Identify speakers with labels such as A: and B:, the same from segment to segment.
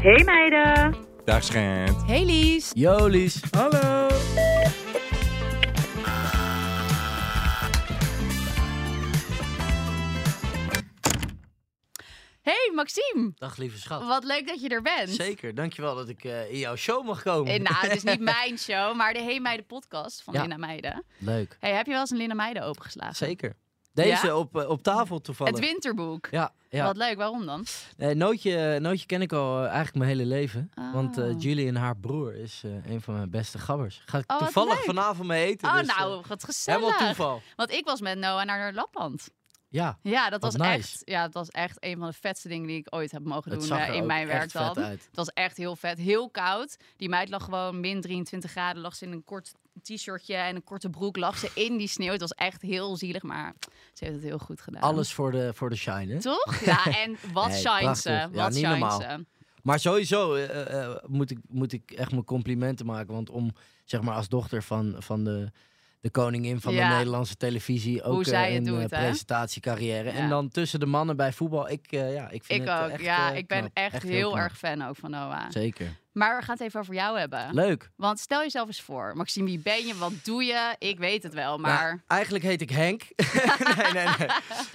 A: Hey meiden.
B: Dag schijnt.
C: Hey Lies.
D: Jolies.
B: Hallo.
C: Hey Maxime.
D: Dag lieve schat.
C: Wat leuk dat je er bent.
D: Zeker, dankjewel dat ik eh, in jouw show mag komen.
C: Eh, nou, het is niet mijn show, maar de Hey Meiden podcast van
D: Ja.
C: Linda Meiden.
D: Leuk.
C: Hey, heb je wel eens een Linda Meiden opengeslagen?
D: Zeker. Deze op, eh, op tafel toevallig.
C: Het winterboek.
D: Ja, ja.
C: Wat leuk, waarom dan?
D: Eh, nootje, nootje ken ik al eh, eigenlijk mijn hele leven.
C: Oh.
D: Want eh, Julie en haar broer is eh, een van mijn beste gabbers. Ga ik
C: Oh, wat
D: toevallig
C: leuk.
D: vanavond mee eten.
C: oh,
D: dus, eh,
C: nou, wat gezellig.
D: helemaal toeval.
C: Want ik was met Noah naar Lapland.
D: Ja,
C: Ja, dat was,
D: Wat nice.
C: echt, ja, dat was echt een van de vetste dingen die ik ooit heb mogen
D: het
C: doen
D: zag
C: eh,
D: er
C: in
D: ook
C: mijn werk
D: echt vet
C: dan.
D: uit.
C: Het was echt heel vet. Heel koud. Die meid lag gewoon min 23 graden. Lag ze in een kort t-shirtje en een korte broek. Lag ze in die sneeuw. Het was echt heel zielig, maar ze heeft het heel goed gedaan.
D: Alles voor de, voor de shine, hè?
C: Toch? Ja, en wat
D: Nee,
C: shine
D: prachtig.
C: ze.
D: Ja,
C: wat
D: niet
C: shine
D: normaal.
C: ze.
D: Maar sowieso eh, eh, eh, moet, ik, moet ik echt mijn complimenten maken. Want om, zeg maar, als dochter van, van de, de koningin van
C: Ja.
D: de Nederlandse televisie ook
C: Hoe
D: eh,
C: zij het
D: een eh,
C: doet, hè?
D: presentatiecarrière.
C: Ja.
D: En dan tussen de mannen bij voetbal. Ik, eh, ja, ik vind
C: Ik
D: het eh,
C: ook.
D: echt,
C: ja,
D: eh,
C: ik ben
D: knap.
C: echt, heel,
D: knap.
C: erg fan ook van Noah.
D: Zeker.
C: Maar we gaan het even over jou hebben.
D: Leuk.
C: Want stel jezelf eens voor. Maxime, wie ben je? Wat doe je? Ik weet het wel, maar...
D: Ja, eigenlijk heet ik Henk. nee, nee, nee.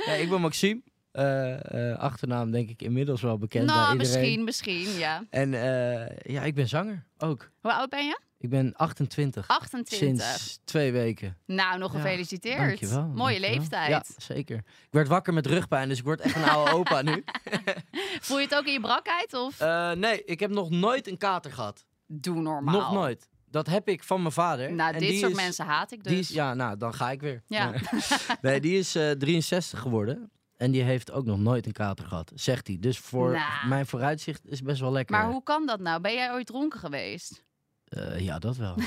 D: nee. Ik ben Maxime. Eh, eh, achternaam denk ik inmiddels wel bekend bij
C: nou,
D: iedereen.
C: misschien, misschien, ja.
D: En eh, ja, ik ben zanger ook.
C: Hoe oud ben je?
D: Ik ben 28.
C: 28.
D: Sinds twee weken.
C: Nou, nog
D: Ja,
C: gefeliciteerd.
D: Dankjewel.
C: Mooie
D: dankjewel.
C: leeftijd.
D: Ja, zeker. Ik werd wakker met rugpijn, dus ik word echt een oude opa nu.
C: Voel je het ook in je brakheid? Of
D: Eh, nee, ik heb nog nooit een kater gehad.
C: doe normaal.
D: Nog nooit. Dat heb ik van mijn vader.
C: Nou,
D: En
C: dit
D: die
C: soort
D: is-
C: mensen haat ik dus.
D: Die is, ja, nou, dan ga ik weer.
C: Ja.
D: nee, die is eh, 63 geworden. En die heeft ook nog nooit een kater gehad, zegt hij. Dus voor
C: Nou.
D: mijn vooruitzicht is best wel lekker.
C: Maar hoe kan dat nou? Ben jij ooit dronken geweest?
D: Eh, ja, dat wel.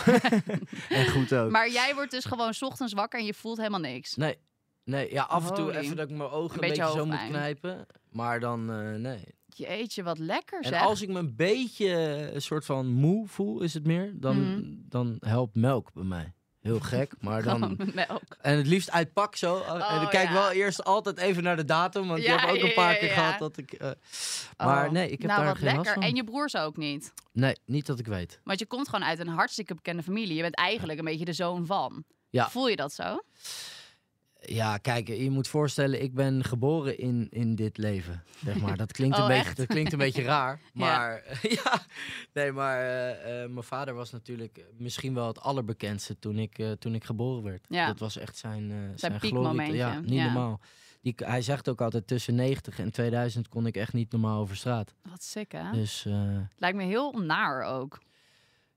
D: en goed ook.
C: Maar jij wordt dus gewoon 's ochtends wakker en je voelt helemaal niks.
D: Nee, nee ja, af en toe
C: Holy.
D: even dat ik mijn ogen
C: Een
D: een
C: beetje
D: beetje, zo moet
C: hoofdpijn.
D: knijpen. Maar dan, eh, nee.
C: Jeetje, wat lekker
D: En
C: zeg.
D: als ik me een beetje eh, een soort van moe voel, is het meer, dan,
C: Mhm.
D: dan helpt melk bij mij. Heel gek, maar
C: Gewoon
D: dan...
C: met melk.
D: En het liefst uitpak zo. en
C: Oh,
D: ik kijk
C: ja.
D: wel eerst altijd even naar de datum, want
C: Ja,
D: je hebt ook
C: ja,
D: een paar
C: ja,
D: keer
C: ja.
D: gehad dat ik... eh, maar
C: Oh,
D: nee, ik heb
C: nou,
D: daar
C: wat
D: geen last
C: lekker.
D: van.
C: En je broers ook niet.
D: Nee, niet dat ik weet.
C: Want je komt gewoon uit een hartstikke bekende familie. Je bent eigenlijk een beetje de zoon van.
D: Ja.
C: Voel je dat zo?
D: Ja, kijk, je moet voorstellen, ik ben geboren in, in dit leven. Zeg maar. dat, klinkt
C: Oh,
D: een beetje,
C: echt?
D: dat klinkt een beetje raar.
C: Ja.
D: Maar ja, nee, maar eh, eh, mijn vader was natuurlijk misschien wel het allerbekendste toen ik, eh, toen ik geboren werd.
C: Ja.
D: Dat was echt zijn, eh zijn,
C: piekmomentje,
D: glorie. Ja, niet
C: ja.
D: normaal. Die, hij zegt ook altijd, tussen 90 en 2000 kon ik echt niet normaal over straat.
C: Wat sick, hè?
D: Dus eh,
C: Lijkt me heel naar ook.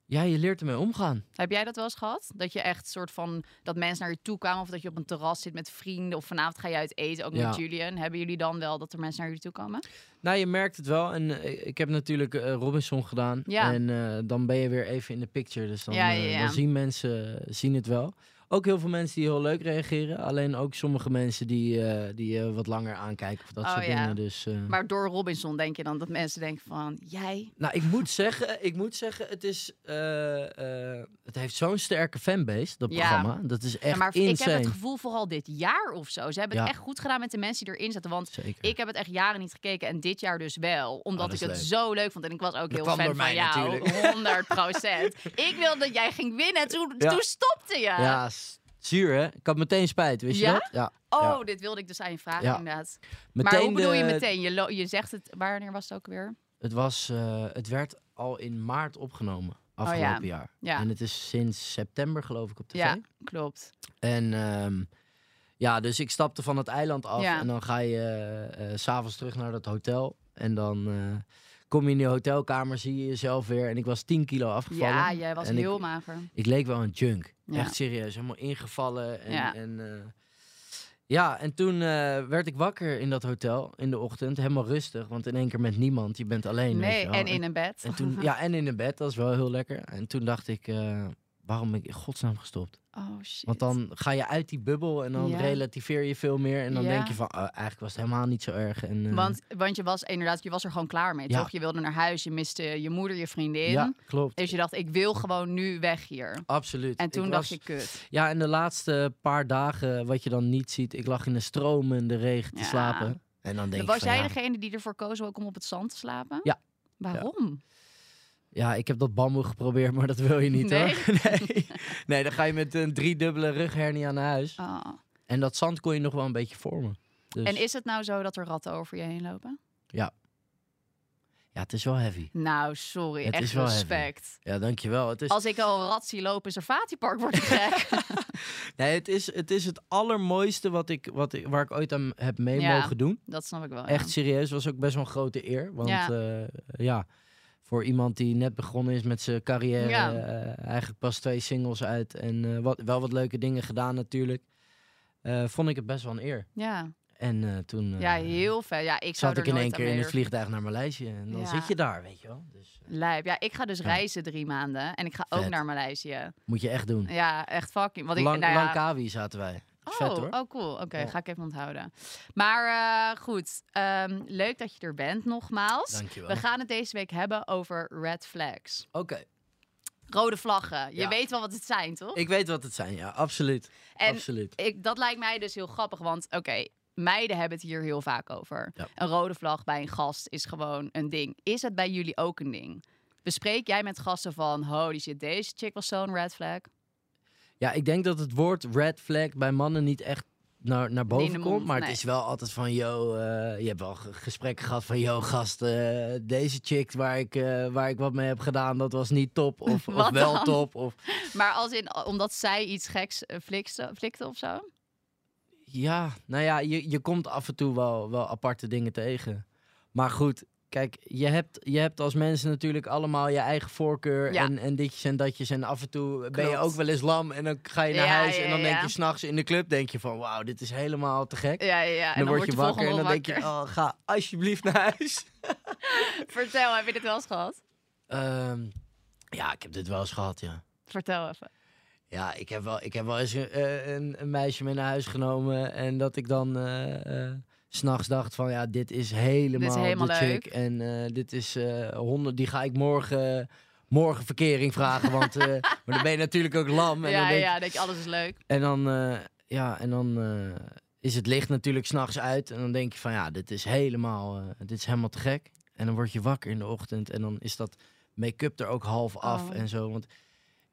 D: ja, je leert ermee omgaan.
C: Heb jij dat wel eens gehad? Dat je echt soort van dat mensen naar je toe kwamen of dat je op een terras zit met vrienden of vanavond ga je uit eten ook
D: Ja.
C: met Julian. Hebben jullie dan wel dat er mensen naar jullie toe komen?
D: Nou, je merkt het wel. En eh, ik heb natuurlijk eh, Robinson gedaan.
C: Ja.
D: En eh, dan ben je weer even in de picture. Dus dan,
C: Ja, ja,
D: eh,
C: ja.
D: dan zien mensen eh, zien het wel. Ook heel veel mensen die heel leuk reageren. Alleen ook sommige mensen die, eh, die eh, wat langer aankijken of dat
C: Oh,
D: soort
C: ja.
D: dingen. Dus, eh,
C: Maar door Robinson denk je dan dat mensen denken van jij.
D: Nou, ik moet zeggen, ik moet zeggen het, is, eh, eh, het heeft zo'n sterke fanbase, dat
C: Ja.
D: programma. Dat is echt
C: Ja, maar ik
D: insane.
C: heb het gevoel vooral dit jaar of zo. Ze hebben het
D: Ja.
C: echt goed gedaan met de mensen die erin zaten. Want
D: Zeker.
C: ik heb het echt jaren niet gekeken en dit jaar dus wel. Omdat
D: Oh, dat
C: ik
D: is
C: het
D: leuk.
C: zo leuk vond. En ik was ook heel
D: kwam
C: fan
D: door
C: van
D: mij
C: jou.
D: natuurlijk.
C: 100 ik wilde dat jij ging winnen. en Toen,
D: Ja.
C: toen stopte je.
D: Ja, s- zuur hè? Ik had meteen spijt, wist
C: eh, Ja?
D: je dat? Ja.
C: Oh,
D: ja.
C: dit wilde ik dus aan je vragen
D: Ja.
C: inderdaad. maar
D: Meteen
C: hoe bedoel je
D: de-
C: meteen? Je, lo- je zegt het, wanneer was het ook weer?
D: Het, was, eh, het werd al in maart opgenomen, afgelopen jaar.
C: Oh Ja.
D: En het is sinds september geloof ik op tv.
C: Ja, klopt.
D: En ehm, ja, dus ik stapte van het eiland af
C: Ja.
D: en dan ga je eh, eh, s s'avonds terug naar dat hotel. En dan eh, kom je in die hotelkamer, zie je jezelf weer. En ik was 10 kilo afgevallen.
C: Ja, jij was
D: En
C: heel
D: Ik,
C: mager.
D: ik leek wel een junk.
C: Ja.
D: Echt serieus, helemaal ingevallen. En,
C: Ja.
D: En, eh, ja, en toen eh, werd ik wakker in dat hotel in de ochtend. Helemaal rustig, want in één keer met niemand. Je bent alleen. weet
C: Nee,
D: je wel.
C: en in een bed.
D: En toen, ja, en in een bed, dat is wel heel lekker. En toen dacht ik, eh, waarom ben ik in godsnaam gestopt?
C: Oh shit.
D: Want dan ga je uit die bubbel en dan
C: Ja.
D: relativeer je veel meer. En dan
C: Ja.
D: denk je van, oh, eigenlijk was het helemaal niet zo erg. En, eh,
C: Want, want je was inderdaad, je was er gewoon klaar mee,
D: Ja.
C: toch? Je wilde naar huis, je miste je moeder, je vriendin.
D: Ja, klopt.
C: Dus je dacht, ik wil gewoon nu weg hier.
D: Absoluut.
C: En
D: Ik
C: toen
D: was-
C: dacht je, kut.
D: Ja, en de laatste paar dagen, wat je dan niet ziet... Ik lag in de stroom en de regen te
C: Ja.
D: slapen. En dan denk ik
C: was
D: van,
C: jij
D: ja,
C: degene die ervoor koos ook om op het zand te slapen?
D: Ja.
C: Waarom?
D: Ja, ik heb dat bamboe geprobeerd, maar dat wil je niet
C: Nee?
D: hoor. Nee. nee, dan ga je met een driedubbele rughernia naar huis.
C: Oh.
D: En dat zand kon je nog wel een beetje vormen. Dus,
C: En is het nou zo dat er ratten over je heen lopen?
D: Ja, het is wel heavy.
C: Nou, sorry.
D: Het
C: echt
D: is wel heavy.
C: respect.
D: Ja, dankjewel. Het is,
C: Als ik al een rat zie lopen, is er Fatiepark wordt gek.
D: nee, het, is, het, is het allermooiste wat ik, wat ik, waar ik ooit aan heb mee
C: Ja.
D: mogen doen.
C: dat snap ik wel. ja.
D: Echt serieus, was ook best wel een grote eer. Want
C: Ja.
D: ja, ja voor iemand die net begonnen is met zijn carrière,
C: Ja.
D: eh, eigenlijk pas twee singles uit en eh, wat, wel wat leuke dingen gedaan natuurlijk, eh, vond ik het best wel een eer.
C: Ja.
D: En eh, toen eh,
C: ja, heel vet. Ja, ik zou
D: zat
C: er
D: ik in
C: nooit
D: één
C: aan
D: keer in het
C: meedoen.
D: vliegtuig naar Maleisië en dan
C: Ja.
D: zit je daar, weet je wel. Dus eh,
C: Lijp. Ja, ik ga dus
D: Ja.
C: reizen drie maanden. En ik ga ook
D: Vet.
C: naar Maleisië.
D: moet je echt doen.
C: Ja, echt fucking. Want ik,
D: Lang,
C: nou ja,
D: Langkawi zaten wij.
C: oh,
D: Vet hoor.
C: oh, cool. Oké,
D: Ja.
C: ga ik even onthouden. Maar eh, goed, ehm, leuk dat je er bent nogmaals.
D: Dankjewel.
C: We gaan het deze week hebben over red flags.
D: Oké,
C: Rode vlaggen. Je
D: Ja.
C: weet wel wat het zijn, toch?
D: ik weet wat het zijn, ja, absoluut.
C: en
D: absoluut.
C: ik, dat lijkt mij dus heel grappig, want oké, meiden hebben het hier heel vaak over.
D: Ja.
C: Een rode vlag bij een gast is gewoon een ding. Is het bij jullie ook een ding? Bespreek jij met gasten van, holy shit, deze chick was zo'n red flag?
D: Ja, ik denk dat het woord red flag bij mannen niet echt naar, naar boven
C: in de
D: komt.
C: mond,
D: maar
C: nee.
D: het is wel altijd van, yo, eh, je hebt wel ge- gesprekken gehad van, yo, gast, eh, deze chick waar ik, eh, waar ik wat mee heb gedaan, dat was niet top. Of, of
C: Wat
D: wel
C: dan?
D: top. Of,
C: Maar als in, omdat zij iets geks eh, flikste, flikte of zo?
D: ja, nou ja, je, je komt af en toe wel, wel aparte dingen tegen. Maar goed, kijk, je hebt, je hebt als mensen natuurlijk allemaal je eigen voorkeur
C: Ja.
D: en, en ditjes en datjes. En af en toe ben je
C: Klopt.
D: ook wel eens lam en dan ga je naar
C: Ja,
D: huis
C: ja,
D: en dan denk
C: ja.
D: je s'nachts in de club, denk je van, wauw, dit is helemaal te gek.
C: Ja, ja, ja.
D: En dan, word je, wakker en dan
C: volgende
D: denk je,
C: wakker.
D: oh, ga alsjeblieft naar huis.
C: Vertel, heb je dit wel eens gehad?
D: Ehm, ja, ik heb dit wel eens gehad, ja.
C: Vertel even.
D: Ja, ik heb wel, ik heb wel eens een, eh, een, een meisje mee naar huis genomen. En dat ik dan eh, eh, 's s'nachts dacht van, ja, dit is helemaal,
C: helemaal
D: de chick. En eh, dit is eh 100, die ga ik morgen, morgen verkering vragen. Want eh, maar dan ben je natuurlijk ook lam. En dan
C: ja,
D: denk
C: ja, denk je, alles is leuk.
D: En dan, eh, ja, en dan eh, is het licht natuurlijk s'nachts uit. En dan denk je van ja, dit is helemaal, eh, dit is helemaal te gek. En dan word je wakker in de ochtend en dan is dat make-up er ook half af
C: Oh.
D: en zo. Want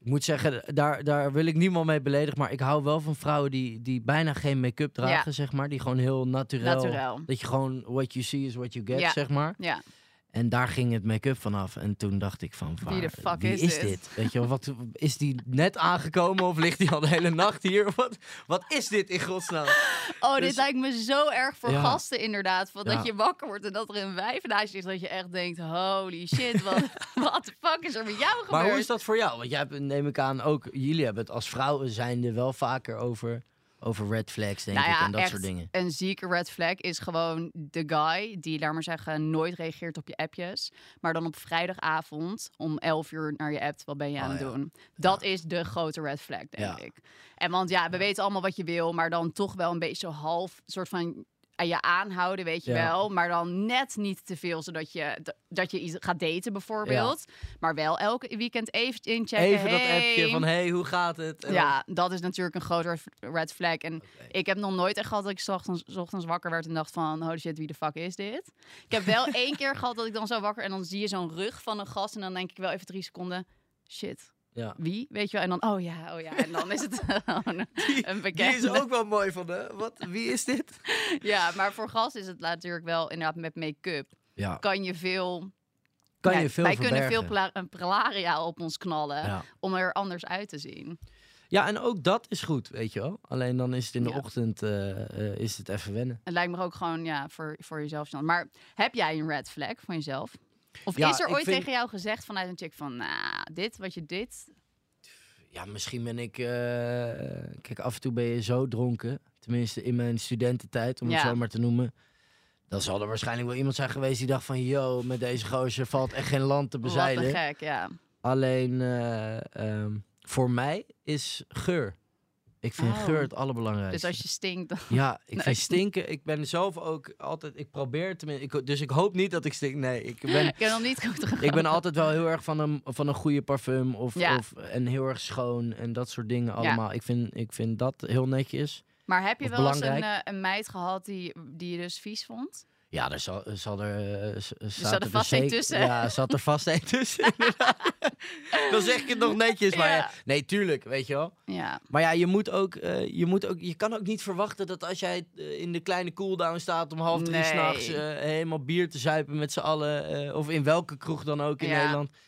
D: ik moet zeggen, daar, daar wil ik niemand mee beledigen. Maar ik hou wel van vrouwen die, die bijna geen make-up dragen, zeg maar. Die gewoon heel naturel.
C: Naturel.
D: Dat je gewoon, what you see is what you get,
C: Ja.
D: zeg maar.
C: Ja.
D: En daar ging het make-up vanaf. En toen dacht ik van,
C: Wie
D: waar,
C: de fuck
D: wie
C: is
D: is
C: dit?
D: dit? Weet je wel, wat, is die net aangekomen of ligt die al de hele nacht hier? Wat, wat is dit in godsnaam?
C: Oh, dit
D: Dus-
C: lijkt me zo erg voor
D: Ja.
C: gasten inderdaad. Van
D: Ja.
C: Dat je wakker wordt en dat er een wijf naast je is. Dat je echt denkt, holy shit, wat wat de fuck is er met jou gebeurd?
D: Maar hoe is dat voor jou? Want jij hebt, neem ik aan, ook jullie hebben het als vrouwen zijnde wel vaker over, over red flags, denk
C: Nou
D: ik,
C: ja,
D: en dat
C: echt
D: soort dingen.
C: Een zieke red flag is gewoon de guy die, laat maar zeggen, nooit reageert op je appjes. Maar dan op vrijdagavond om 11 uur naar je appt, wat ben je
D: Oh,
C: aan het
D: ja.
C: doen? Dat is de grote red flag, denk
D: Ja.
C: ik. En want ja, we weten allemaal wat je wil, maar dan toch wel een beetje zo half, soort van aan je aanhouden, weet je
D: Ja.
C: wel. Maar dan net niet te veel, zodat je, d- dat je iets gaat daten bijvoorbeeld. Maar wel elke weekend even inchecken.
D: Even dat
C: hey.
D: appje van, hey, hoe gaat het? En
C: Ja, dat is natuurlijk een grote red- red flag. En
D: dan- Oké.
C: ik heb nog nooit echt gehad dat ik 's ochtends, 's ochtends wakker werd en dacht van... holy shit, wie de fuck is dit? Ik heb wel één keer gehad dat ik dan zo wakker... en dan zie je zo'n rug van een gast en dan denk ik wel even drie seconden... shit,
D: Ja.
C: wie? Weet je wel? En dan, oh ja, oh ja. En dan is het gewoon een
D: Die
C: bekende.
D: is ook wel mooi van, hè? Wat, wie is dit?
C: Ja, maar voor gast is het natuurlijk wel inderdaad met make-up.
D: Ja,
C: Kan je veel...
D: kan
C: Ja,
D: je veel
C: Wij
D: verbergen.
C: kunnen veel pla- eh, pralaria op ons knallen
D: Ja.
C: om er anders uit te zien.
D: Ja, en ook dat is goed, weet je wel. Alleen dan is het in de
C: Ja.
D: ochtend eh, eh, is het even wennen.
C: Het lijkt me ook gewoon ja, voor, voor jezelf. gênant. Maar heb jij een red flag van jezelf? Of
D: Ja,
C: is er
D: ik
C: ooit
D: vind-
C: tegen jou gezegd vanuit een chick van... Nou, dit, wat je dit...
D: Ja, misschien ben ik... eh, kijk, af en toe ben je zo dronken. Tenminste, in mijn studententijd, om
C: Ja.
D: het zo maar te noemen. Dan zal er waarschijnlijk wel iemand zijn geweest die dacht van... Yo, met deze gozer valt echt geen land te
C: Wat
D: bezeilen.
C: een gek, ja.
D: Alleen, eh, ehm, voor mij is geur. Ik vind
C: Oh.
D: geur het allerbelangrijkste.
C: Dus als je stinkt... dan-
D: Ja, ik
C: Nee.
D: vind stinken. Ik ben zelf ook altijd... Ik probeer tenminste... Ik, dus ik hoop niet dat ik stink. Nee, ik ben...
C: Ik heb nog niet goed
D: Ik ben altijd wel heel erg van een, van een goede parfum. Of,
C: Ja.
D: of, en heel erg schoon en dat soort dingen allemaal. Ik, vind, ik vind dat heel netjes.
C: Maar heb je
D: Of
C: wel eens een,
D: belangrijk.
C: eh, een meid gehad die, die je dus vies vond?
D: Ja, er zal, er zal er... eh, z-
C: zat
D: zaten
C: er vast een
D: zeker-
C: tussen.
D: Ja, zat er vast een tussen. inderdaad. Dan zeg ik het nog netjes, maar...
C: Ja.
D: ja, Nee, tuurlijk, weet je wel.
C: Ja,
D: Maar ja, je moet ook, eh, je moet ook, je kan ook niet verwachten dat als jij eh, in de kleine cooldown staat om half drie
C: Nee.
D: s'nachts eh, helemaal bier te zuipen met z'n allen, eh, of in welke kroeg dan ook in
C: Ja.
D: Nederland. dat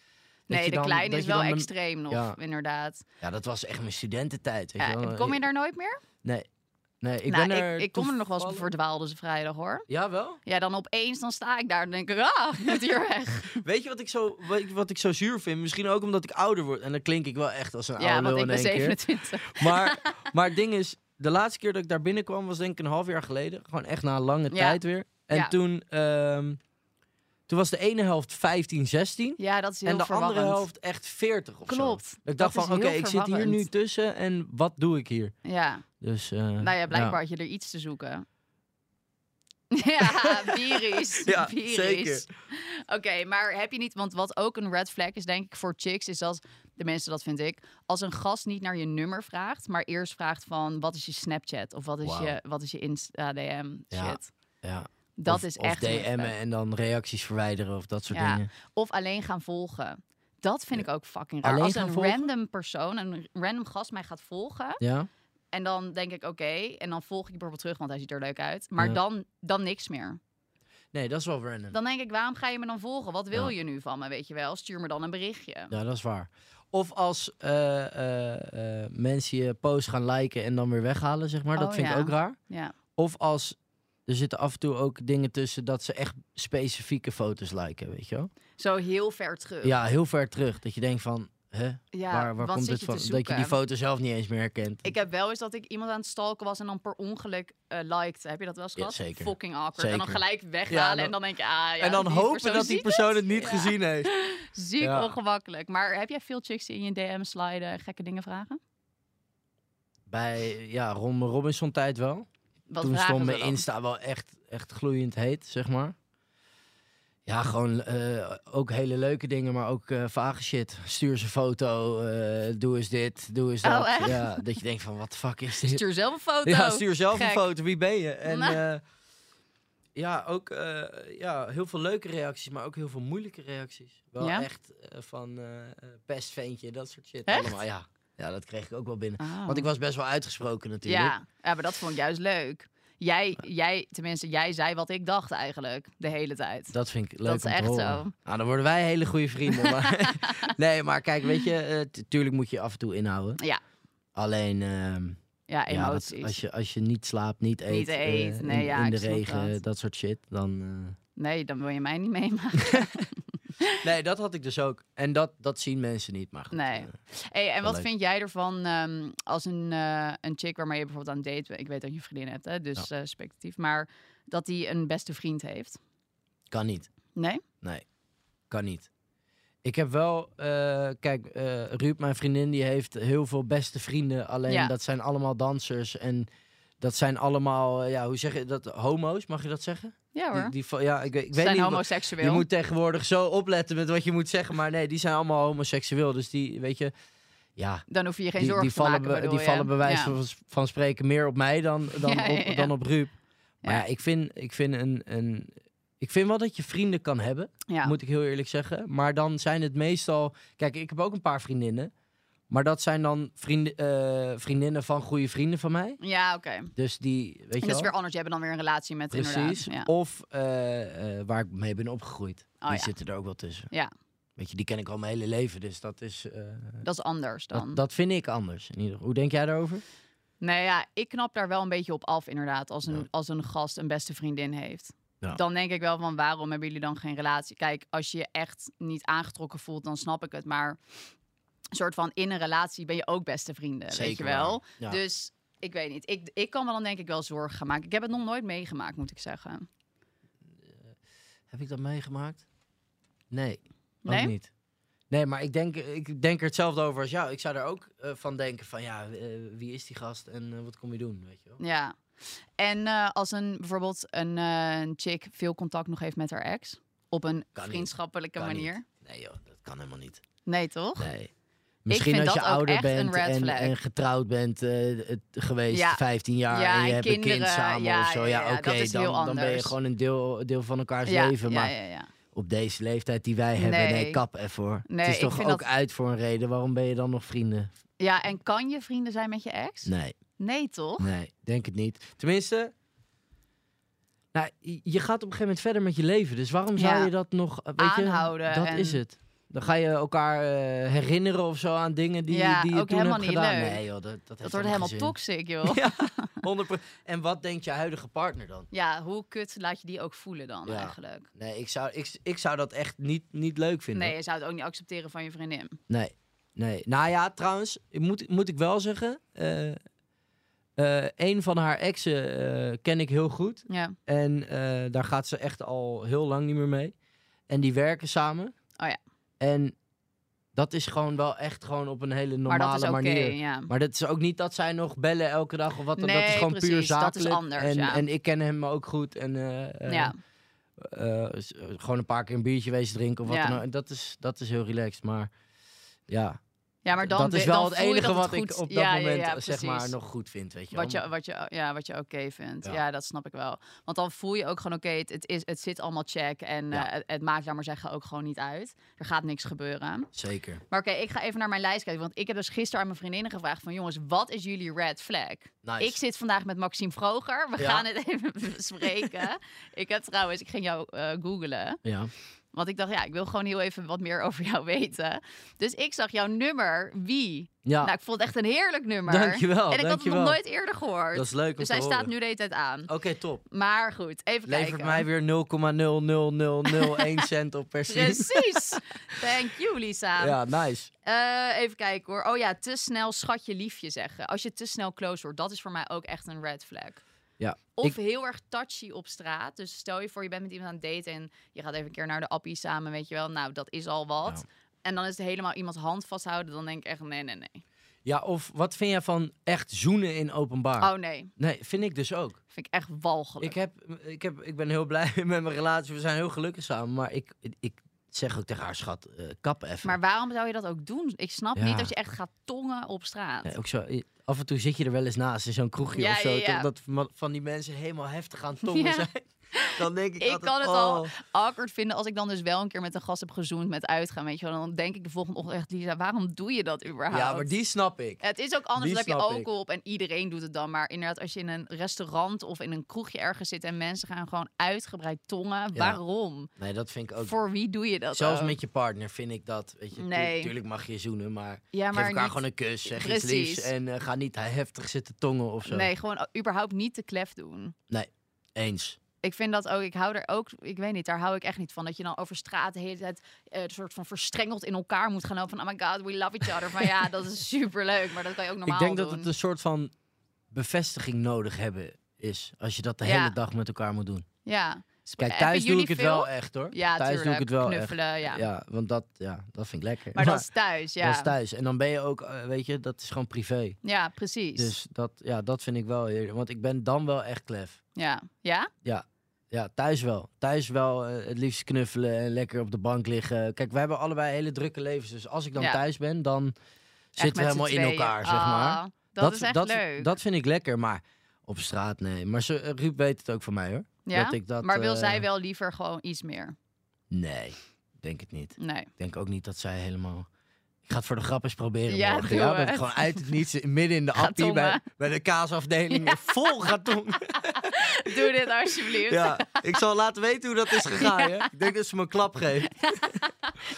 C: nee,
D: je
C: de
D: dan-
C: kleine
D: dat
C: is
D: je
C: wel
D: dan een-
C: extreem nog,
D: Ja.
C: inderdaad.
D: Ja, dat was echt mijn studententijd. Weet
C: Ja,
D: je wel.
C: en kom je daar nooit meer?
D: Nee, nee, ik
C: nou,
D: ben er.
C: ik, ik kom er nog wel eens
D: toevallig-
C: verdwaald als vrijdag hoor.
D: Ja, wel.
C: Ja, dan opeens dan sta ik daar en denk ik, ah, ik moet hier weg.
D: Weet je wat ik zo, wat ik, wat ik zo zuur vind? Misschien ook omdat ik ouder word en dan klink ik wel echt als
C: ja,
D: een oude
C: want
D: lul
C: ik
D: in
C: ben
D: één keer.
C: 27.
D: Maar, maar het ding is, de laatste keer dat ik daar binnenkwam was denk ik een half jaar geleden. Gewoon echt na een lange
C: Ja.
D: tijd weer. En
C: Ja.
D: toen, ehm, toen was de ene helft 15, 16.
C: Ja, dat is heel
D: en de
C: verwarrend.
D: andere helft echt 40 of zo.
C: Klopt.
D: Ik dacht
C: Dat is
D: van, oké,
C: heel
D: ik zit hier nu
C: verwarrend.
D: tussen en wat doe ik hier?
C: Ja,
D: Dus, eh,
C: nou ja, blijkbaar had je er iets te zoeken. Ja, virus.
D: Ja,
C: virus.
D: zeker.
C: Oké, maar heb je niet... Want wat ook een red flag is, denk ik, voor chicks... is dat, de mensen dat vind ik... als een gast niet naar je nummer vraagt... maar eerst vraagt van... wat is je Snapchat? Of wat is
D: Wauw.
C: je, wat is je Insta-DM?
D: Ja,
C: Shit.
D: Ja, ja.
C: Dat
D: Of-
C: is
D: of
C: echt... een red
D: DM'en
C: flag.
D: en dan reacties verwijderen of dat soort
C: Ja.
D: dingen.
C: Of alleen gaan volgen. Dat vind ik ook fucking raar.
D: Alleen
C: Als
D: gaan
C: een
D: volgen?
C: random persoon, een random gast mij gaat volgen...
D: Ja?
C: En dan denk ik, oké. En dan volg ik bijvoorbeeld terug, want hij ziet er leuk uit. Maar
D: Ja.
C: dan, dan niks meer.
D: Nee, dat is wel random.
C: Dan denk ik, waarom ga je me dan volgen? Wat wil
D: Ja.
C: je nu van me, weet je wel? Stuur me dan een berichtje.
D: Ja, dat is waar. Of als eh, eh, eh, mensen je post gaan liken en dan weer weghalen, zeg maar. Dat
C: Oh,
D: vind ik
C: ja.
D: ook raar.
C: Ja.
D: Of als er zitten af en toe ook dingen tussen dat ze echt specifieke foto's liken, weet je wel?
C: Zo heel ver terug.
D: Ja, heel ver terug. Dat je denkt van, hè,
C: Ja,
D: waar, waar
C: wat
D: komt
C: zit
D: dit
C: je
D: van?
C: te
D: Dat je die
C: zoeken?
D: foto zelf niet eens meer herkent.
C: Ik heb wel eens dat ik iemand aan het stalken was en dan per ongeluk eh liked. Heb je dat wel eens
D: Ja,
C: gehad?
D: zeker.
C: Fucking awkward. En dan
D: Zeker.
C: gelijk
D: Ja,
C: weghalen
D: dan-
C: en dan denk je, ah ja.
D: en dan hopen dat die persoon het niet
C: Ja.
D: gezien heeft.
C: Ziek
D: Ja.
C: ongemakkelijk. Maar heb jij veel chicks die in je DM sliden en gekke dingen vragen?
D: Bij ja, rond mijn Robinson tijd wel.
C: Wat
D: Toen
C: vragen
D: stond
C: ze
D: mijn
C: dan?
D: Insta wel echt, echt gloeiend heet, zeg maar. Ja, gewoon eh, ook hele leuke dingen, maar ook eh, vage shit. Stuur eens een foto, eh, doe eens dit, doe eens
C: Oh,
D: dat.
C: echt?
D: ja, dat je denkt van, wat de fuck is dit?
C: Stuur zelf een foto.
D: Ja, stuur zelf een
C: Gek.
D: foto. Wie ben je? En
C: Nou.
D: eh, ja, ook eh, ja, heel veel leuke reacties, maar ook heel veel moeilijke reacties. Wel
C: Ja?
D: echt eh, van eh eh, pestventje, dat soort shit.
C: Echt?
D: Allemaal, ja. ja, dat kreeg ik ook wel binnen.
C: Oh.
D: Want ik was best wel uitgesproken natuurlijk.
C: Ja, ja, maar dat vond ik juist leuk. Jij, jij, tenminste, jij zei wat ik dacht eigenlijk de hele tijd.
D: Dat vind ik
C: Dat
D: leuk om
C: is
D: te
C: echt
D: horen.
C: zo.
D: Nou, dan worden wij hele goede vrienden. maar- nee, maar kijk, weet je, eh, tu- tuurlijk moet je je af en toe inhouden.
C: Ja.
D: Alleen, ehm,
C: Ja,
D: ja,
C: emoties.
D: dat- als, je, als je niet slaapt, niet eet,
C: Niet
D: eh,
C: eet,
D: in-
C: nee, ja,
D: in, de
C: ik snap
D: regen,
C: dat.
D: dat soort shit, dan... eh,
C: Nee, dan wil je mij niet meemaken.
D: Nee, dat had ik dus ook. En dat, dat zien mensen niet, maar goed.
C: Nee.
D: eh,
C: hey, en
D: Wel
C: wat
D: leuk.
C: vind jij ervan ehm, als een, eh, een chick waarmee je bijvoorbeeld aan het date bent? Ik weet dat je een vriendin hebt, hè, dus eh spectatief. Maar dat die een beste vriend heeft?
D: kan niet.
C: Nee?
D: Kan niet. Ik heb wel... eh, kijk, eh Ruud, mijn vriendin, die heeft heel veel beste vrienden. Alleen
C: Ja.
D: dat zijn allemaal dansers en... Dat zijn allemaal, eh, ja, hoe zeg je dat? Homo's, mag je dat zeggen?
C: Ja hoor.
D: Die, die, van- ja, ik, weet- ik
C: Ze
D: weet
C: zijn
D: niet. wat-
C: homoseksueel.
D: Je moet tegenwoordig zo opletten met wat je moet zeggen. Maar nee, die zijn allemaal homoseksueel. Dus die, weet je, ja,
C: Dan hoef je je geen
D: die,
C: zorgen
D: die
C: te
D: vallen,
C: maken.
D: be-
C: bedoel
D: die
C: je.
D: vallen bij wijze
C: Ja.
D: van, s- van spreken meer op mij dan, dan,
C: Ja, ja,
D: op,
C: ja.
D: dan op Ruup. Maar
C: Ja.
D: ja, ik vind, ik vind, een, een, ik vind wel dat je vrienden kan hebben,
C: Ja.
D: moet ik heel eerlijk zeggen. Maar dan zijn het meestal... Kijk, ik heb ook een paar vriendinnen. Maar dat zijn dan vrienden, eh, vriendinnen van goede vrienden van mij.
C: Ja, oké. En
D: Dus die, weet je
C: dat
D: wel...
C: is weer anders. Je hebt dan weer een relatie met
D: Precies.
C: inderdaad.
D: Of eh, eh, waar ik mee ben opgegroeid.
C: Oh,
D: die
C: ja.
D: zitten er ook wel tussen.
C: Ja.
D: Weet je, die ken ik al mijn hele leven. Dus dat is... eh,
C: Ja, dat is anders dan.
D: dat, dat vind ik anders. In ieder geval. Hoe denk jij daarover?
C: Nou ja, ik knap daar wel een beetje op af, inderdaad. Als een,
D: Ja.
C: als een gast een beste vriendin heeft.
D: Ja.
C: Dan denk ik wel van waarom hebben jullie dan geen relatie? Kijk, als je je echt niet aangetrokken voelt, dan snap ik het. Maar een soort van in een relatie ben je ook beste vrienden. weet je wel.
D: waar. Ja.
C: Dus ik weet niet. Ik, ik kan me dan denk ik wel zorgen gaan maken. Ik heb het nog nooit meegemaakt, moet ik zeggen.
D: Heb ik dat meegemaakt? Nee,
C: Nee?
D: ook niet. Nee, maar ik denk, ik denk er hetzelfde over als jou. Ik zou er ook eh, van denken van, ja, eh, wie is die gast en eh, wat kom je doen, weet je wel?
C: Ja. En eh, als een bijvoorbeeld een, eh, een chick veel contact nog heeft met haar ex. Op een
D: Kan niet.
C: vriendschappelijke
D: Kan niet.
C: manier.
D: Nee joh, dat kan helemaal niet.
C: Nee, toch?
D: Nee. Misschien
C: vind
D: als je
C: dat ook
D: ouder
C: echt een
D: bent
C: red
D: en,
C: flag.
D: en getrouwd bent eh, het- geweest,
C: Ja.
D: 15 jaar,
C: Ja,
D: en je
C: en
D: hebt een kind
C: kinderen,
D: samen
C: ja,
D: of zo.
C: ja,
D: Ja,
C: ja,
D: oké,
C: dat is heel
D: dan, dan ben je
C: anders.
D: gewoon een deel, deel van elkaars
C: ja,
D: leven.
C: ja,
D: Maar
C: ja, ja.
D: op deze leeftijd die wij hebben, nee,
C: Nee.
D: kap even hoor.
C: Nee,
D: het is
C: ik
D: toch ook
C: vind dat-
D: uit voor een reden. Waarom ben je dan nog vrienden?
C: Ja, en kan je vrienden zijn met je ex? Nee,
D: Nee,
C: toch?
D: nee, denk het niet. Tenminste, nou, je- je gaat op een gegeven moment verder met je leven. Dus waarom zou
C: Ja.
D: je dat nog... eh, Weet
C: Aanhouden
D: Je, dat
C: en-
D: is het. Dan ga je elkaar eh, herinneren of zo aan dingen die,
C: Ja,
D: die je
C: ook
D: toen
C: helemaal
D: hebt
C: niet
D: gedaan.
C: leuk.
D: Nee joh, dat, dat, heeft
C: Dat wordt helemaal
D: geen zin.
C: toxic, joh.
D: Ja. 100%. En wat denkt je huidige partner dan?
C: Ja, hoe kut laat je die ook voelen dan
D: Ja.
C: eigenlijk?
D: Nee, ik zou, ik, ik zou dat echt niet, niet leuk vinden.
C: Nee, je zou het ook niet accepteren van je vriendin.
D: Nee, nee. Nou ja, trouwens, ik moet, moet ik wel zeggen. eh, eh, een van haar exen eh, ken ik heel goed.
C: Ja.
D: En eh, daar gaat ze echt al heel lang niet meer mee. En die werken samen.
C: Oh ja.
D: En dat is gewoon wel echt gewoon op een hele normale
C: Maar dat is oké,
D: manier.
C: ja.
D: Maar dat is ook niet dat zij nog bellen elke dag of wat dan. dat is
C: Nee,
D: gewoon puur
C: precies, dat
D: zakelijk.
C: is anders,
D: en,
C: ja.
D: en ik ken hem ook goed. En eh, eh,
C: ja.
D: eh, s- eh, gewoon een paar keer een biertje wezen drinken of wat
C: Ja.
D: dan ook. En dat is, dat is heel relaxed. Maar ja,
C: ja, maar dan
D: dat is
C: we-
D: wel
C: dan
D: het
C: voel je
D: enige
C: dat het
D: wat ik
C: goed-
D: op dat
C: ja, ja,
D: moment
C: ja,
D: eh, zeg maar
C: precies.
D: nog goed vind, weet je wel.
C: Wat je, wat je, ja, wat je oké vindt.
D: Ja.
C: Ja. dat snap ik wel. Want dan voel je ook gewoon, oké, het, het, is- het zit allemaal check. En
D: Ja.
C: eh, het, het maakt, laat maar zeggen, ook gewoon niet uit. Er gaat niks gebeuren.
D: Zeker.
C: Maar oké, ik ga even naar mijn lijst kijken. Want ik heb dus gisteren aan mijn vriendinnen gevraagd van... jongens, wat is jullie red flag?
D: Nice.
C: Ik zit vandaag met Maxime Vroger. We
D: Ja.
C: gaan het even bespreken. ik heb trouwens, ik ging jou eh googlen.
D: Ja.
C: Want ik dacht, ja, ik wil gewoon heel even wat meer over jou weten. Dus ik zag jouw nummer, Wie.
D: ja.
C: Nou, ik vond het echt een heerlijk nummer.
D: dankjewel.
C: En ik had het
D: dankjewel.
C: nog nooit eerder gehoord.
D: Dat is leuk om
C: dus
D: te
C: hij
D: horen.
C: staat nu de hele tijd aan.
D: Oké, top.
C: Maar goed, even
D: Levert
C: kijken.
D: mij weer 0,00001 cent op per scene.
C: Precies. Thank you, Lisa.
D: Ja, nice.
C: Eh, even kijken hoor. Oh ja, te snel schatje liefje zeggen. Als je te snel close wordt, dat is voor mij ook echt een red flag.
D: Ja,
C: Of
D: ik-
C: heel erg touchy op straat. Dus stel je voor, je bent met iemand aan het daten en je gaat even een keer naar de appie samen, weet je wel. Nou, dat is al wat.
D: Ja.
C: En dan is het helemaal iemands hand vasthouden. Dan denk ik echt, nee, nee, nee.
D: Ja, of wat vind jij van echt zoenen in openbaar?
C: Oh nee,
D: Nee, vind ik dus ook.
C: vind ik echt walgelijk.
D: Ah. Ik, heb, ik, heb, ik ben heel blij met mijn relatie. We zijn heel gelukkig samen. Maar ik, ik zeg ook tegen haar schat, eh, kap even.
C: Maar waarom zou je dat ook doen? Ik snap
D: Ja.
C: niet dat je echt gaat tongen op straat.
D: Nee, ook zo, i- af en toe zit je er wel eens naast in zo'n kroegje
C: Ja,
D: of zo.
C: ja, ja.
D: toch, Dat ma- van die mensen helemaal heftig aan het tongen
C: Ja.
D: zijn. Dan denk ik,
C: Ik
D: altijd,
C: kan het
D: oh.
C: al. awkward vinden als ik dan dus wel een keer met een gast heb gezoend met uitgaan, weet je wel. Dan denk ik de volgende ochtend echt, Lisa, waarom doe je dat überhaupt?
D: Ja, maar die snap ik.
C: Het is ook anders,
D: die
C: dat heb je
D: snap
C: ook
D: ik.
C: op en iedereen doet het dan. Maar inderdaad, als je in een restaurant of in een kroegje ergens zit en mensen gaan gewoon uitgebreid tongen,
D: Ja.
C: waarom?
D: Nee, dat vind ik ook.
C: Voor wie doe je dat?
D: Zelfs
C: ook?
D: met je partner vind ik dat. Weet je, tu-
C: Nee.
D: tuurlijk mag je zoenen, maar,
C: ja,
D: geef
C: maar
D: elkaar
C: niet-
D: gewoon een kus. Zeg iets
C: Precies.
D: liefs en eh, ga niet heftig zitten tongen of zo.
C: Nee, gewoon überhaupt niet te klef doen.
D: Eens.
C: Ik vind dat ook, ik hou er ook, ik weet niet, daar hou ik echt niet van. Dat je dan over straat de hele tijd eh, een soort van verstrengeld in elkaar moet gaan lopen. Van, oh my god, we love each other. Van ja, dat is superleuk, maar dat kan je ook normaal
D: ik denk
C: doen.
D: dat het dus- een soort van bevestiging nodig hebben is. Als je dat de
C: Ja.
D: hele dag met elkaar moet doen.
C: Ja. Sp-
D: Kijk,
C: hebben
D: thuis doe
C: jullie
D: ik het
C: veel?
D: wel echt hoor.
C: Ja,
D: thuis doe ik
C: tuurlijk.
D: het wel echt.
C: Knuffelen, ja.
D: want dat, ja, dat vind ik lekker.
C: Maar dat is thuis, ja.
D: Dat is thuis. En dan ben je ook, eh, weet je, dat is gewoon privé.
C: Ja, precies.
D: Dus dat, ja, dat vind ik wel heerlijk. Want ik ben dan wel echt klef.
C: Ja. Ja?
D: Ja, thuis wel. Thuis wel eh, het liefst knuffelen en lekker op de bank liggen. Kijk, wij hebben allebei hele drukke levens. Dus als ik dan
C: Ja.
D: thuis ben, dan
C: Echt
D: zitten we
C: met z'n
D: helemaal in
C: tweeën.
D: elkaar, zeg maar.
C: Ah, dat, is echt
D: dat,
C: leuk.
D: Dat vind ik lekker, maar op straat, nee. Maar ze, eh, Ruud weet het ook van mij, hoor.
C: ja?
D: Dat ik dat,
C: maar wil
D: eh,
C: zij wel liever gewoon iets meer?
D: Nee, ik denk het niet.
C: Nee.
D: Ik denk ook niet dat zij helemaal... Ik ga het voor de grap eens proberen
C: Ja,
D: morgen.
C: doe
D: ja, dat
C: het.
D: ik gewoon uit het niets, eh, midden in de
C: Ga
D: appie, bij,
C: tongen.
D: bij de kaasafdeling, vol gaat tongen.
C: Doe dit alsjeblieft.
D: Ja, ik zal laten weten hoe dat is gegaan, hè. Ik denk dat ze me een klap geeft.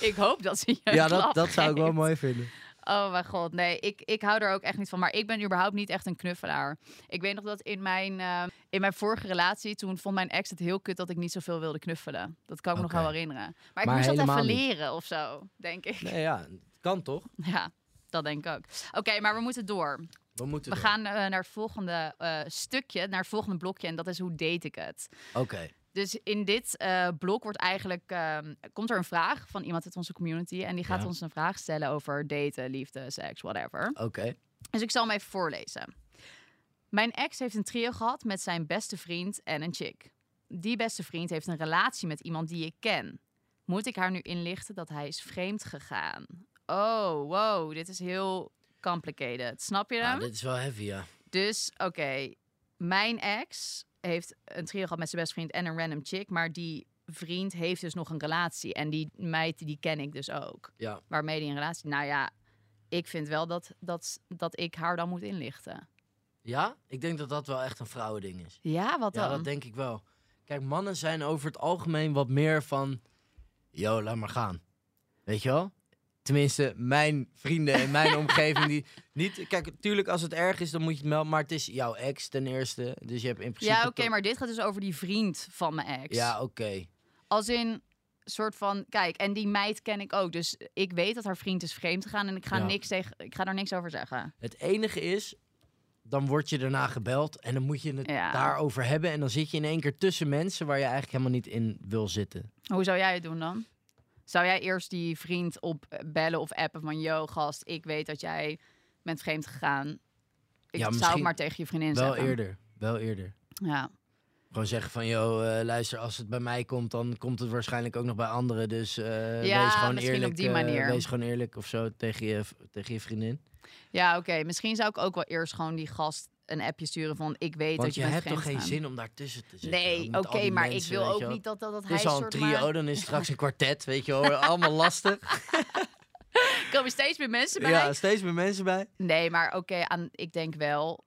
C: Ik hoop dat ze je
D: Ja,
C: een klap
D: dat, dat zou ik wel
C: geeft.
D: mooi vinden.
C: Oh mijn god, nee, ik, ik hou er ook echt niet van. Maar ik ben überhaupt niet echt een knuffelaar. Ik weet nog dat in mijn, eh, in mijn vorige relatie, toen vond mijn ex het heel kut dat ik niet zoveel wilde knuffelen. Dat kan ik me
D: Oké.
C: nog wel herinneren. Maar ik
D: Maar
C: moest dat even
D: helemaal niet.
C: leren of zo, denk ik.
D: Nee, ja, het kan toch?
C: Ja, dat denk ik ook. Oké, maar we moeten door.
D: We moeten
C: We
D: door.
C: gaan eh, naar het volgende eh, stukje, naar het volgende blokje. En dat is hoe date ik het?
D: Oké.
C: Dus in dit eh, blok wordt eigenlijk, ehm, komt er een vraag van iemand uit onze community. En die gaat
D: Ja.
C: ons een vraag stellen over daten, liefde, seks, whatever.
D: Oké.
C: Dus ik zal hem even voorlezen. Mijn ex heeft een trio gehad met zijn beste vriend en een chick. Die beste vriend heeft een relatie met iemand die ik ken. Moet ik haar nu inlichten dat hij is vreemd gegaan? oh, wow, dit is heel complicated. Snap je
D: Ja,
C: dan?
D: Ah, dit is wel heavy, ja.
C: Dus, oké, mijn ex heeft een trio gehad met zijn beste vriend en een random chick, maar die vriend heeft dus nog een relatie en die meid, die ken ik dus ook.
D: Ja.
C: Waarmee die een relatie... Nou ja, ik vind wel dat, dat, dat ik haar dan moet inlichten.
D: Ja? Ik denk dat dat wel echt een vrouwending is.
C: Ja, wat
D: Ja,
C: dan?
D: dat denk ik wel. Kijk, mannen zijn over het algemeen wat meer van... Yo, laat maar gaan. Weet je wel? Tenminste, mijn vrienden en mijn omgeving die niet... Kijk, natuurlijk als het erg is, dan moet je het melden. Maar het is jouw ex ten eerste. Dus je hebt in principe...
C: ja, oké,
D: toch-
C: maar dit gaat dus over die vriend van mijn ex.
D: Ja, oké.
C: Als in soort van, kijk, en die meid ken ik ook. Dus ik weet dat haar vriend is vreemd gegaan en ik ga,
D: Ja.
C: niks tegen, ik ga daar niks over zeggen.
D: Het enige is, dan word je daarna gebeld en dan moet je het
C: Ja.
D: daarover hebben. En dan zit je in één keer tussen mensen waar je eigenlijk helemaal niet in wil zitten.
C: Hoe zou jij het doen dan? Zou jij eerst die vriend op eh, bellen of appen van... Yo, gast, ik weet dat jij bent vreemd gegaan. Ik
D: Ja,
C: zou
D: misschien
C: het maar tegen je vriendin
D: Wel
C: zeggen.
D: eerder, wel eerder.
C: Ja.
D: Gewoon zeggen van, joh, eh, luister, als het bij mij komt, dan komt het waarschijnlijk ook nog bij anderen. Dus eh,
C: Ja,
D: wees gewoon
C: misschien op
D: eerlijk.
C: die
D: eh,
C: manier.
D: wees gewoon eerlijk of zo tegen je, tegen je vriendin.
C: Ja, oké. Misschien zou ik ook wel eerst gewoon die gast een appje sturen van... Ik weet
D: Want
C: dat je,
D: je
C: bent
D: hebt toch
C: vreemd
D: geen
C: gegaan.
D: zin om daartussen te zitten?
C: Nee, oké,
D: Ook met al die
C: maar
D: mensen,
C: ik wil
D: weet
C: ook
D: je wel.
C: niet dat, dat, dat
D: Het
C: hij
D: is al een
C: soort
D: trio,
C: maar...
D: dan is het straks een kwartet, weet je wel. Allemaal lastig.
C: Er komen steeds meer mensen bij.
D: ja, steeds meer mensen bij.
C: Nee, maar oké, aan ik denk wel...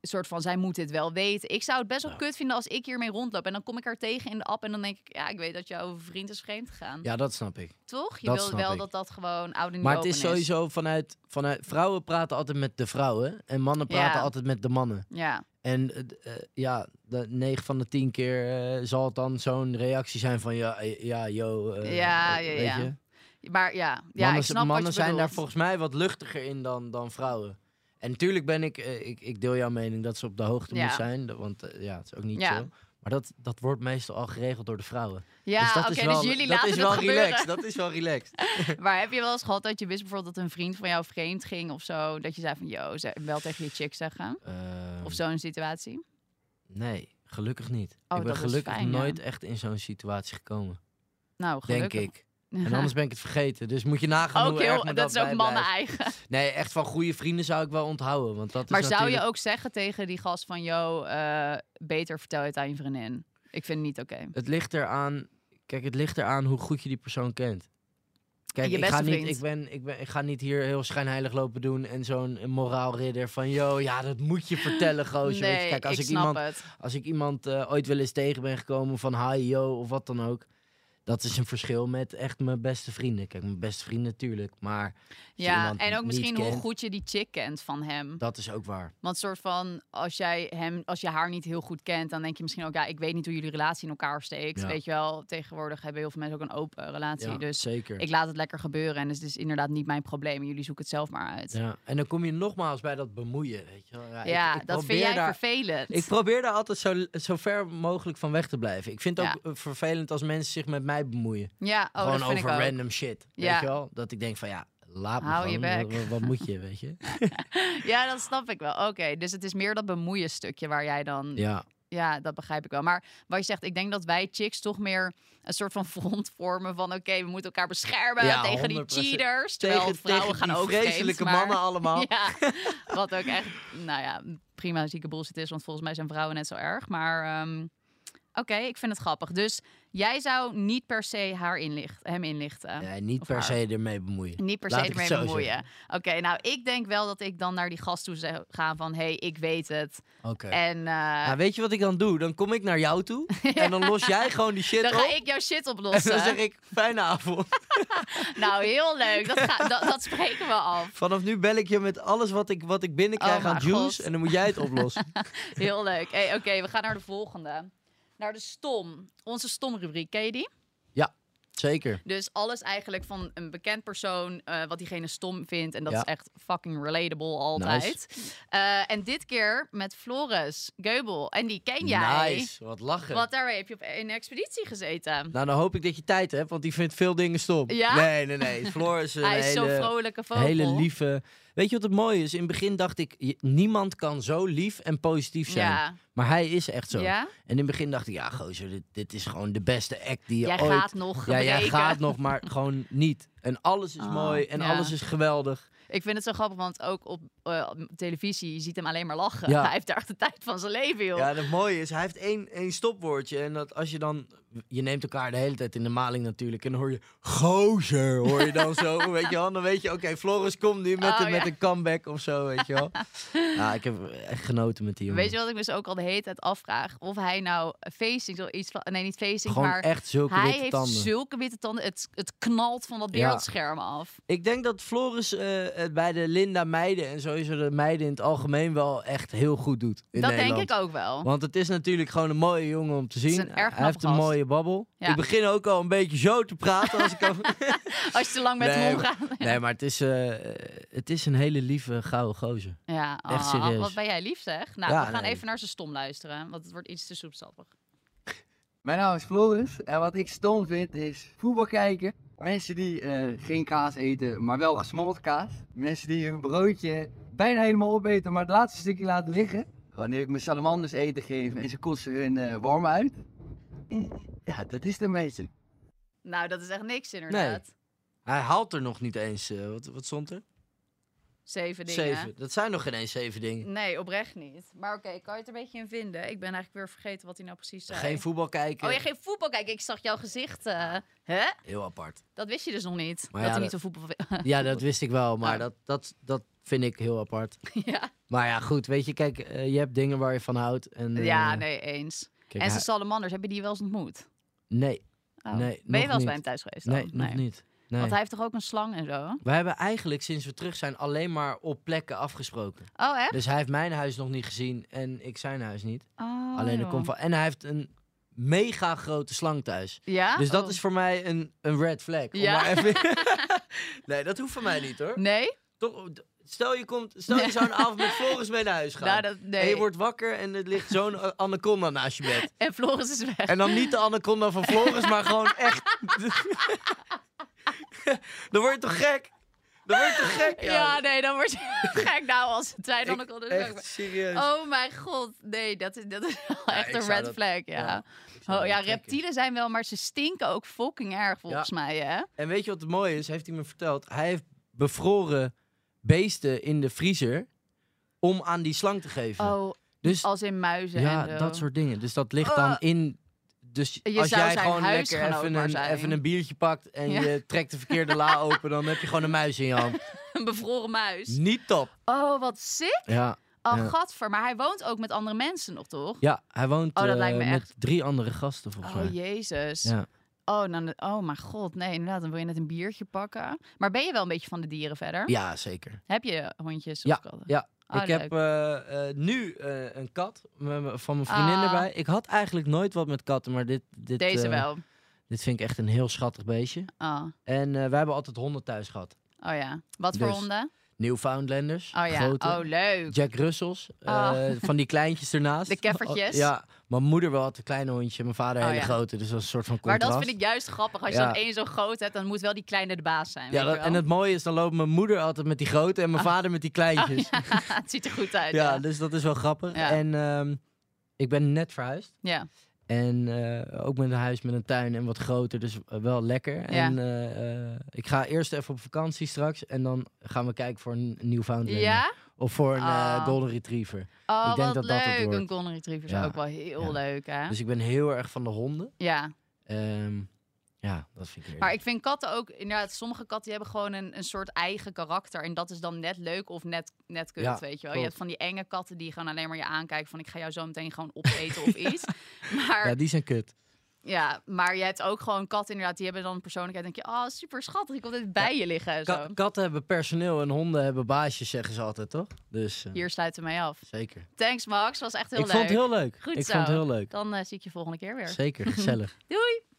C: Een soort van, zij moet dit wel weten. Ik zou het best wel
D: Ja.
C: kut vinden als ik hiermee rondloop. En dan kom ik haar tegen in de app en dan denk ik... Ja, ik weet dat jouw vriend is vreemd gegaan.
D: Ja, dat snap ik.
C: Toch? Je
D: Dat
C: wil
D: snap
C: wel
D: ik.
C: dat dat gewoon oude
D: Maar het is sowieso vanuit, vanuit. Vrouwen praten altijd met de vrouwen. En mannen
C: Ja.
D: praten altijd met de mannen.
C: Ja,
D: En eh, d- eh, ja, de 9 van de 10 keer eh, zal het dan zo'n reactie zijn van. Ja, eh, ja yo. eh,
C: Ja,
D: eh,
C: ja,
D: weet
C: ja.
D: je.
C: Ja, maar ja, ja
D: mannen
C: ik snap
D: mannen
C: wat je
D: zijn daar
C: bedoelt.
D: volgens mij wat luchtiger in dan, dan vrouwen. En natuurlijk ben ik, eh, ik. Ik deel jouw mening dat ze op de hoogte
C: Ja.
D: moet zijn. dat- Want eh, ja, het is ook niet
C: Ja.
D: zo. Maar dat, dat wordt meestal al geregeld door de vrouwen.
C: Ja,
D: dus dat
C: oké,
D: is wel,
C: dus jullie
D: dat
C: laten
D: is
C: het
D: wel
C: gebeuren.
D: relaxed. Dat is wel relaxed.
C: Maar heb je wel eens gehad dat je wist bijvoorbeeld dat een vriend van jou vreemd ging of zo? Dat je zei van, yo, ze- wel tegen je chick zeggen?
D: Ehm,
C: Of zo'n situatie?
D: Nee, gelukkig niet.
C: Oh,
D: ik ben
C: dat is
D: gelukkig
C: fijn, ja.
D: nooit echt in zo'n situatie gekomen.
C: Nou, gelukkig.
D: Denk ik. En anders ben ik het vergeten. Dus moet je nagaan
C: ook
D: hoe erg
C: heel,
D: me
C: dat,
D: dat
C: is ook
D: bijblijft.
C: mannen eigen.
D: Nee, echt van goede vrienden zou ik wel onthouden. Want dat
C: Maar
D: is
C: zou je
D: natuurlijk-
C: ook zeggen tegen die gast van, yo, eh, beter vertel je het aan je vriendin? Ik vind het niet oké.
D: Het ligt eraan... Kijk, het ligt eraan hoe goed je die persoon kent. Kijk,
C: Je
D: ik
C: beste
D: ga, niet,
C: vriend.
D: ik, ben, ik, ben, ik ga niet hier heel schijnheilig lopen doen en zo'n moraalridder van... Yo, ja, dat moet je vertellen, gozer. Weet je,
C: Nee,
D: Kijk, als
C: ik,
D: ik,
C: snap
D: iemand,
C: het.
D: als ik iemand eh, ooit wel eens tegen ben gekomen van hi, yo of wat dan ook... Dat is een verschil met echt mijn beste vrienden. Kijk, mijn beste vrienden natuurlijk, maar... als je
C: Ja,
D: iemand
C: en ook
D: niet
C: misschien hoe
D: kent,
C: goed je die chick kent van hem.
D: Dat is ook waar.
C: Want soort van, als jij hem, als je haar niet heel goed kent, dan denk je misschien ook, ja, ik weet niet hoe jullie relatie in elkaar steekt.
D: Ja.
C: Weet je wel, tegenwoordig hebben heel veel mensen ook een open relatie.
D: Ja,
C: dus
D: zeker.
C: ik laat het lekker gebeuren. En dus het is inderdaad niet mijn probleem. Jullie zoeken het zelf maar uit. Ja,
D: Ja. En dan kom je nogmaals bij dat bemoeien, weet je wel. Ja, ik- ik
C: dat
D: probeer
C: vind jij
D: daar...
C: vervelend.
D: Ik probeer daar altijd zo, zo ver mogelijk van weg te blijven. Ik vind het ook eh, vervelend als mensen zich met mij bemoeien.
C: ja, oh, dat
D: gewoon
C: vind
D: over
C: ik ook.
D: random shit,
C: Ja.
D: weet je wel. Dat ik denk van ja, laat me
C: Hou je
D: gewoon.
C: bek.
D: Wat, wat moet je, weet je.
C: Ja, dat snap ik wel. Oké, dus het is meer dat bemoeien stukje waar jij dan... Ja.
D: Ja,
C: dat begrijp ik wel. Maar wat je zegt, ik denk dat wij chicks toch meer een soort van front vormen van... Oké, we moeten elkaar beschermen
D: Ja,
C: tegen die
D: 100%.
C: cheaters. Terwijl vrouwen
D: tegen
C: gaan
D: die
C: ook
D: vreselijke
C: vreemd, maar-
D: mannen allemaal.
C: Ja, wat ook echt, nou ja, prima zieke bullshit is, want volgens mij zijn vrouwen net zo erg. Maar ehm, oké, ik vind het grappig. Dus jij zou niet per se haar inlicht, hem inlichten.
D: Nee, niet
C: Of
D: per
C: haar.
D: se ermee bemoeien.
C: Niet per
D: Laat
C: se
D: ik het
C: ermee
D: zo
C: bemoeien. Oké, nou ik denk wel dat ik dan naar die gast toe zou gaan van... hé, hey, ik weet het.
D: Oké.
C: En eh,
D: Nou, weet je wat ik dan doe? Dan kom ik naar jou toe en dan los jij gewoon die shit
C: dan
D: op.
C: ga ik jouw shit
D: En dan
C: oplossen.
D: zeg ik, fijne avond.
C: Nou, heel leuk. Dat, ga, dat, dat spreken we af.
D: Vanaf nu bel ik je met alles wat ik, wat ik binnenkrijg
C: Oh
D: aan
C: mijn
D: juice.
C: God.
D: En dan moet jij het oplossen.
C: Heel leuk. Hey, Oké, we gaan naar de volgende. Naar de stom. Onze stomrubriek. Ken je die?
D: Zeker.
C: Dus alles eigenlijk van een bekend persoon, eh, wat diegene stom vindt. En dat
D: Ja.
C: is echt fucking relatable altijd. Eh, en dit keer met Floris Geubel. En die ken jij.
D: Nice, wat lachen.
C: Want daarmee heb je op een expeditie gezeten.
D: Nou, dan hoop ik dat je tijd hebt, want die vindt veel dingen stom.
C: Ja?
D: Nee, nee, nee. Floor is een
C: Hij is zo'n
D: hele,
C: vrolijke vogel.
D: hele lieve, Weet je wat het mooie is? In het begin dacht ik, je- niemand kan zo lief en positief zijn.
C: Ja.
D: Maar hij is echt zo.
C: ja?
D: En in het begin dacht ik, ja gozer, dit, dit is gewoon de beste act die je
C: Jij
D: ooit...
C: gaat nog
D: ja, jij
C: breken.
D: gaat nog, maar gewoon niet. En alles is
C: Oh,
D: mooi en
C: ja.
D: alles is geweldig.
C: Ik vind het zo grappig, want ook op eh, televisie, je ziet hem alleen maar lachen.
D: Ja.
C: Hij heeft daar echt de tijd van zijn leven, joh.
D: Ja, en het mooie is, hij heeft één, één stopwoordje. En dat als je dan... Je neemt elkaar de hele tijd in de maling natuurlijk. En dan hoor je, gozer, hoor je dan zo. weet je wel, dan weet je, oké, Floris komt nu met,
C: Oh,
D: een, met
C: ja.
D: een comeback of zo, weet je wel. ja, ik heb echt genoten met die jongen.
C: Weet je wat ik me dus ook al de hele tijd afvraag? Of hij nou facing, zo iets van, nee niet facing,
D: Gewoon
C: maar
D: echt zulke
C: hij
D: witte
C: heeft
D: tanden.
C: zulke witte tanden. Het, het knalt van dat
D: Ja.
C: beeldscherm af.
D: Ik denk dat Floris eh, het bij de Linda meiden en sowieso de meiden in het algemeen wel echt heel goed doet in
C: dat
D: Nederland.
C: denk ik ook wel.
D: Want het is natuurlijk gewoon een mooie jongen om te zien.
C: is een erg
D: Hij
C: knappe
D: heeft een
C: gast.
D: mooie babbel.
C: Ja.
D: Ik begin ook al een beetje zo te praten als ik al...
C: Als je te lang met
D: Nee,
C: hem omgaat.
D: Nee, maar het is, eh, het is een hele lieve gouden gozer.
C: Ja,
D: Echt
C: ah,
D: serieus.
C: wat ben jij lief zeg. Nou,
D: Ja,
C: we gaan
D: nee.
C: even naar zijn stom luisteren, want het wordt iets te soepsappig.
A: Mijn naam is Floris en wat ik stom vind is voetbal kijken. Mensen die eh, geen kaas eten, maar wel gesmolten kaas. Mensen die hun broodje bijna helemaal opeten, maar het laatste stukje laten liggen. Wanneer ik mijn salamanders eten geef en ze kotsen hun eh worm uit. eh, Ja, dat is het een beetje.
C: Nou, dat is echt niks inderdaad.
D: Hij haalt er nog niet eens... eh, wat, wat stond er?
C: Zeven dingen.
D: Zeven. Dat zijn nog geen eens zeven dingen.
C: Nee, oprecht niet. Maar oké, kan je het er een beetje in vinden? Ik ben eigenlijk weer vergeten wat hij nou precies zei.
D: Geen voetbal kijken.
C: Oh ja, geen voetbal. Kijk, ik zag jouw gezicht. eh. hè?
D: Heel apart.
C: Dat wist je dus nog niet.
D: Maar
C: dat
D: ja,
C: hij niet zo voetbal...
D: Ja, dat wist ik wel, maar
C: Oh.
D: dat, dat, dat vind ik heel apart.
C: ja.
D: Maar ja, goed, weet je, kijk, eh, je hebt dingen waar je van houdt. En,
C: ja,
D: eh,
C: nee, eens.
D: kijk,
C: en
D: hij-
C: zijn salamanders, heb je die wel eens ontmoet?
D: Nee,
C: Oh.
D: Nee,
C: ben
D: nog
C: je wel eens bij
D: niet.
C: hem thuis geweest? Oh, dan?
D: nee, nog niet. Nee.
C: Want hij heeft toch ook een slang en zo?
D: We hebben eigenlijk sinds we terug zijn alleen maar op plekken afgesproken.
C: Oh, echt?
D: Dus hij heeft mijn huis nog niet gezien en ik zijn huis niet.
C: Oh,
D: alleen de
C: joh.
D: kom van. En hij heeft een mega grote slang thuis.
C: Ja?
D: Dus dat
C: Oh.
D: is voor mij een, een red flag. om
C: Ja.
D: maar even- nee, dat hoeft van mij niet hoor.
C: Nee?
D: Toch, oh, stel je, komt, stel je
C: Nee.
D: zo'n avond met Floris mee naar huis gaat.
C: Nou, dat,
D: En
C: nee.
D: je
C: En,
D: wordt wakker en er ligt zo'n a- anaconda naast je bed.
C: Floris is weg.
D: En dan niet de anaconda van Floris, maar gewoon echt. dan word je toch gek? Dan word je toch gek?
C: ja. nee, dan word je gek nou als het zijn dan ook al dus weg.
D: Echt serieus.
C: Oh mijn god, nee, dat is, dat is wel echt
D: ik
C: een
D: zou
C: red
D: dat-
C: flag,
D: ja,
C: ja.
D: ik zou
C: oh,
D: dat
C: ja,
D: niet trekken.
C: reptielen zijn wel, maar ze stinken ook fucking erg volgens mij, hè?
D: En weet je wat het mooie is? Heeft hij me verteld? Hij heeft bevroren beesten in de vriezer om aan die slang te geven.
C: Oh,
D: dus
C: als in muizen
D: ja,
C: en zo.
D: dat soort dingen. Dus dat ligt dan
C: Oh.
D: in. Dus
C: Je
D: als
C: zou
D: jij
C: zijn
D: gewoon lekker
C: huisgenoot
D: even
C: maar
D: een,
C: zijn.
D: even een biertje pakt en
C: Ja.
D: je trekt de verkeerde la open, dan heb je gewoon een muis in je hand.
C: Een bevroren muis.
D: Niet top.
C: Oh, wat sick.
D: Ja.
C: Oh,
D: Ja.
C: gadver. Maar hij woont ook met andere mensen nog, toch?
D: Ja, hij woont
C: Oh, dat
D: eh,
C: lijkt me
D: met
C: echt-
D: drie andere gasten volgens mij.
C: Oh, jezus.
D: Ja.
C: Oh, dan, oh, mijn god. Nee, inderdaad. Dan wil je net een biertje pakken. Maar ben je wel een beetje van de dieren verder?
D: Ja, zeker.
C: Heb je hondjes of katten?
D: ja.
C: Oh,
D: ik heb
C: leuk.
D: eh, eh, nu eh, een kat met me- van mijn vriendin
C: Ah.
D: erbij. Ik had eigenlijk nooit wat met katten, maar dit, dit,
C: Deze
D: eh,
C: wel.
D: dit vind ik echt een heel schattig beestje.
C: Oh,
D: En eh, wij hebben altijd honden thuis gehad.
C: oh ja. Wat voor
D: Dus-
C: honden?
D: Newfoundlanders,
C: Oh ja.
D: grote.
C: Oh, leuk.
D: Jack Russells, eh,
C: Oh.
D: van die kleintjes ernaast.
C: De keffertjes.
D: Oh, ja, mijn moeder wel had een klein hondje, mijn vader een
C: Oh,
D: hele
C: ja.
D: grote. Dus dat is een soort van
C: Maar
D: contrast.
C: dat vind ik juist grappig. Als je
D: Ja.
C: dan één zo groot hebt, dan moet wel die kleine de baas zijn. weet
D: ja, dat-
C: je
D: en
C: wel.
D: het mooie is, dan loopt mijn moeder altijd met die grote en mijn vader met die kleintjes.
C: het ziet er goed uit.
D: Ja,
C: Ja.
D: dus dat is wel grappig.
C: Ja.
D: En ehm, ik ben net verhuisd.
C: Ja.
D: En eh, ook met een huis met een tuin en wat groter, dus eh, wel lekker. En eh, eh, ik ga eerst even op vakantie straks. En dan gaan we kijken voor een Newfoundlander.
C: Ja?
D: Of voor een eh,
C: Ah.
D: Golden Retriever.
C: Oh,
D: Ik
C: wat
D: denk dat dat het
C: leuk.
D: wordt.
C: een Golden Retriever is
D: Ja.
C: ook wel heel
D: Ja.
C: leuk, hè?
D: Dus ik ben heel erg van de honden.
C: Ja.
D: Ehm, ja, dat vind ik leuk.
C: Maar ik vind katten ook... Inderdaad, sommige katten die hebben gewoon een, een soort eigen karakter. En dat is dan net leuk of net, net kut,
D: Ja,
C: weet je wel. Je
D: klopt.
C: hebt van die enge katten die gewoon alleen maar je aankijken van... ik ga jou zo meteen gewoon opeten of iets. Maar
D: Ja, die zijn kut.
C: Ja, maar je hebt ook gewoon katten inderdaad. Die hebben dan een persoonlijkheid. denk je, oh, super schattig. Ik wil dit bij je liggen. en
D: Ka-
C: zo.
D: katten hebben personeel en honden hebben baasjes, zeggen ze altijd, toch? Dus eh,
C: Hier sluiten we mee af.
D: zeker.
C: Thanks, Max. Was echt heel
D: ik
C: leuk.
D: vond het heel leuk.
C: Goed
D: ik
C: zo.
D: vond het heel leuk.
C: Dan eh, zie ik je volgende keer weer.
D: Zeker, gezellig.
C: Doei!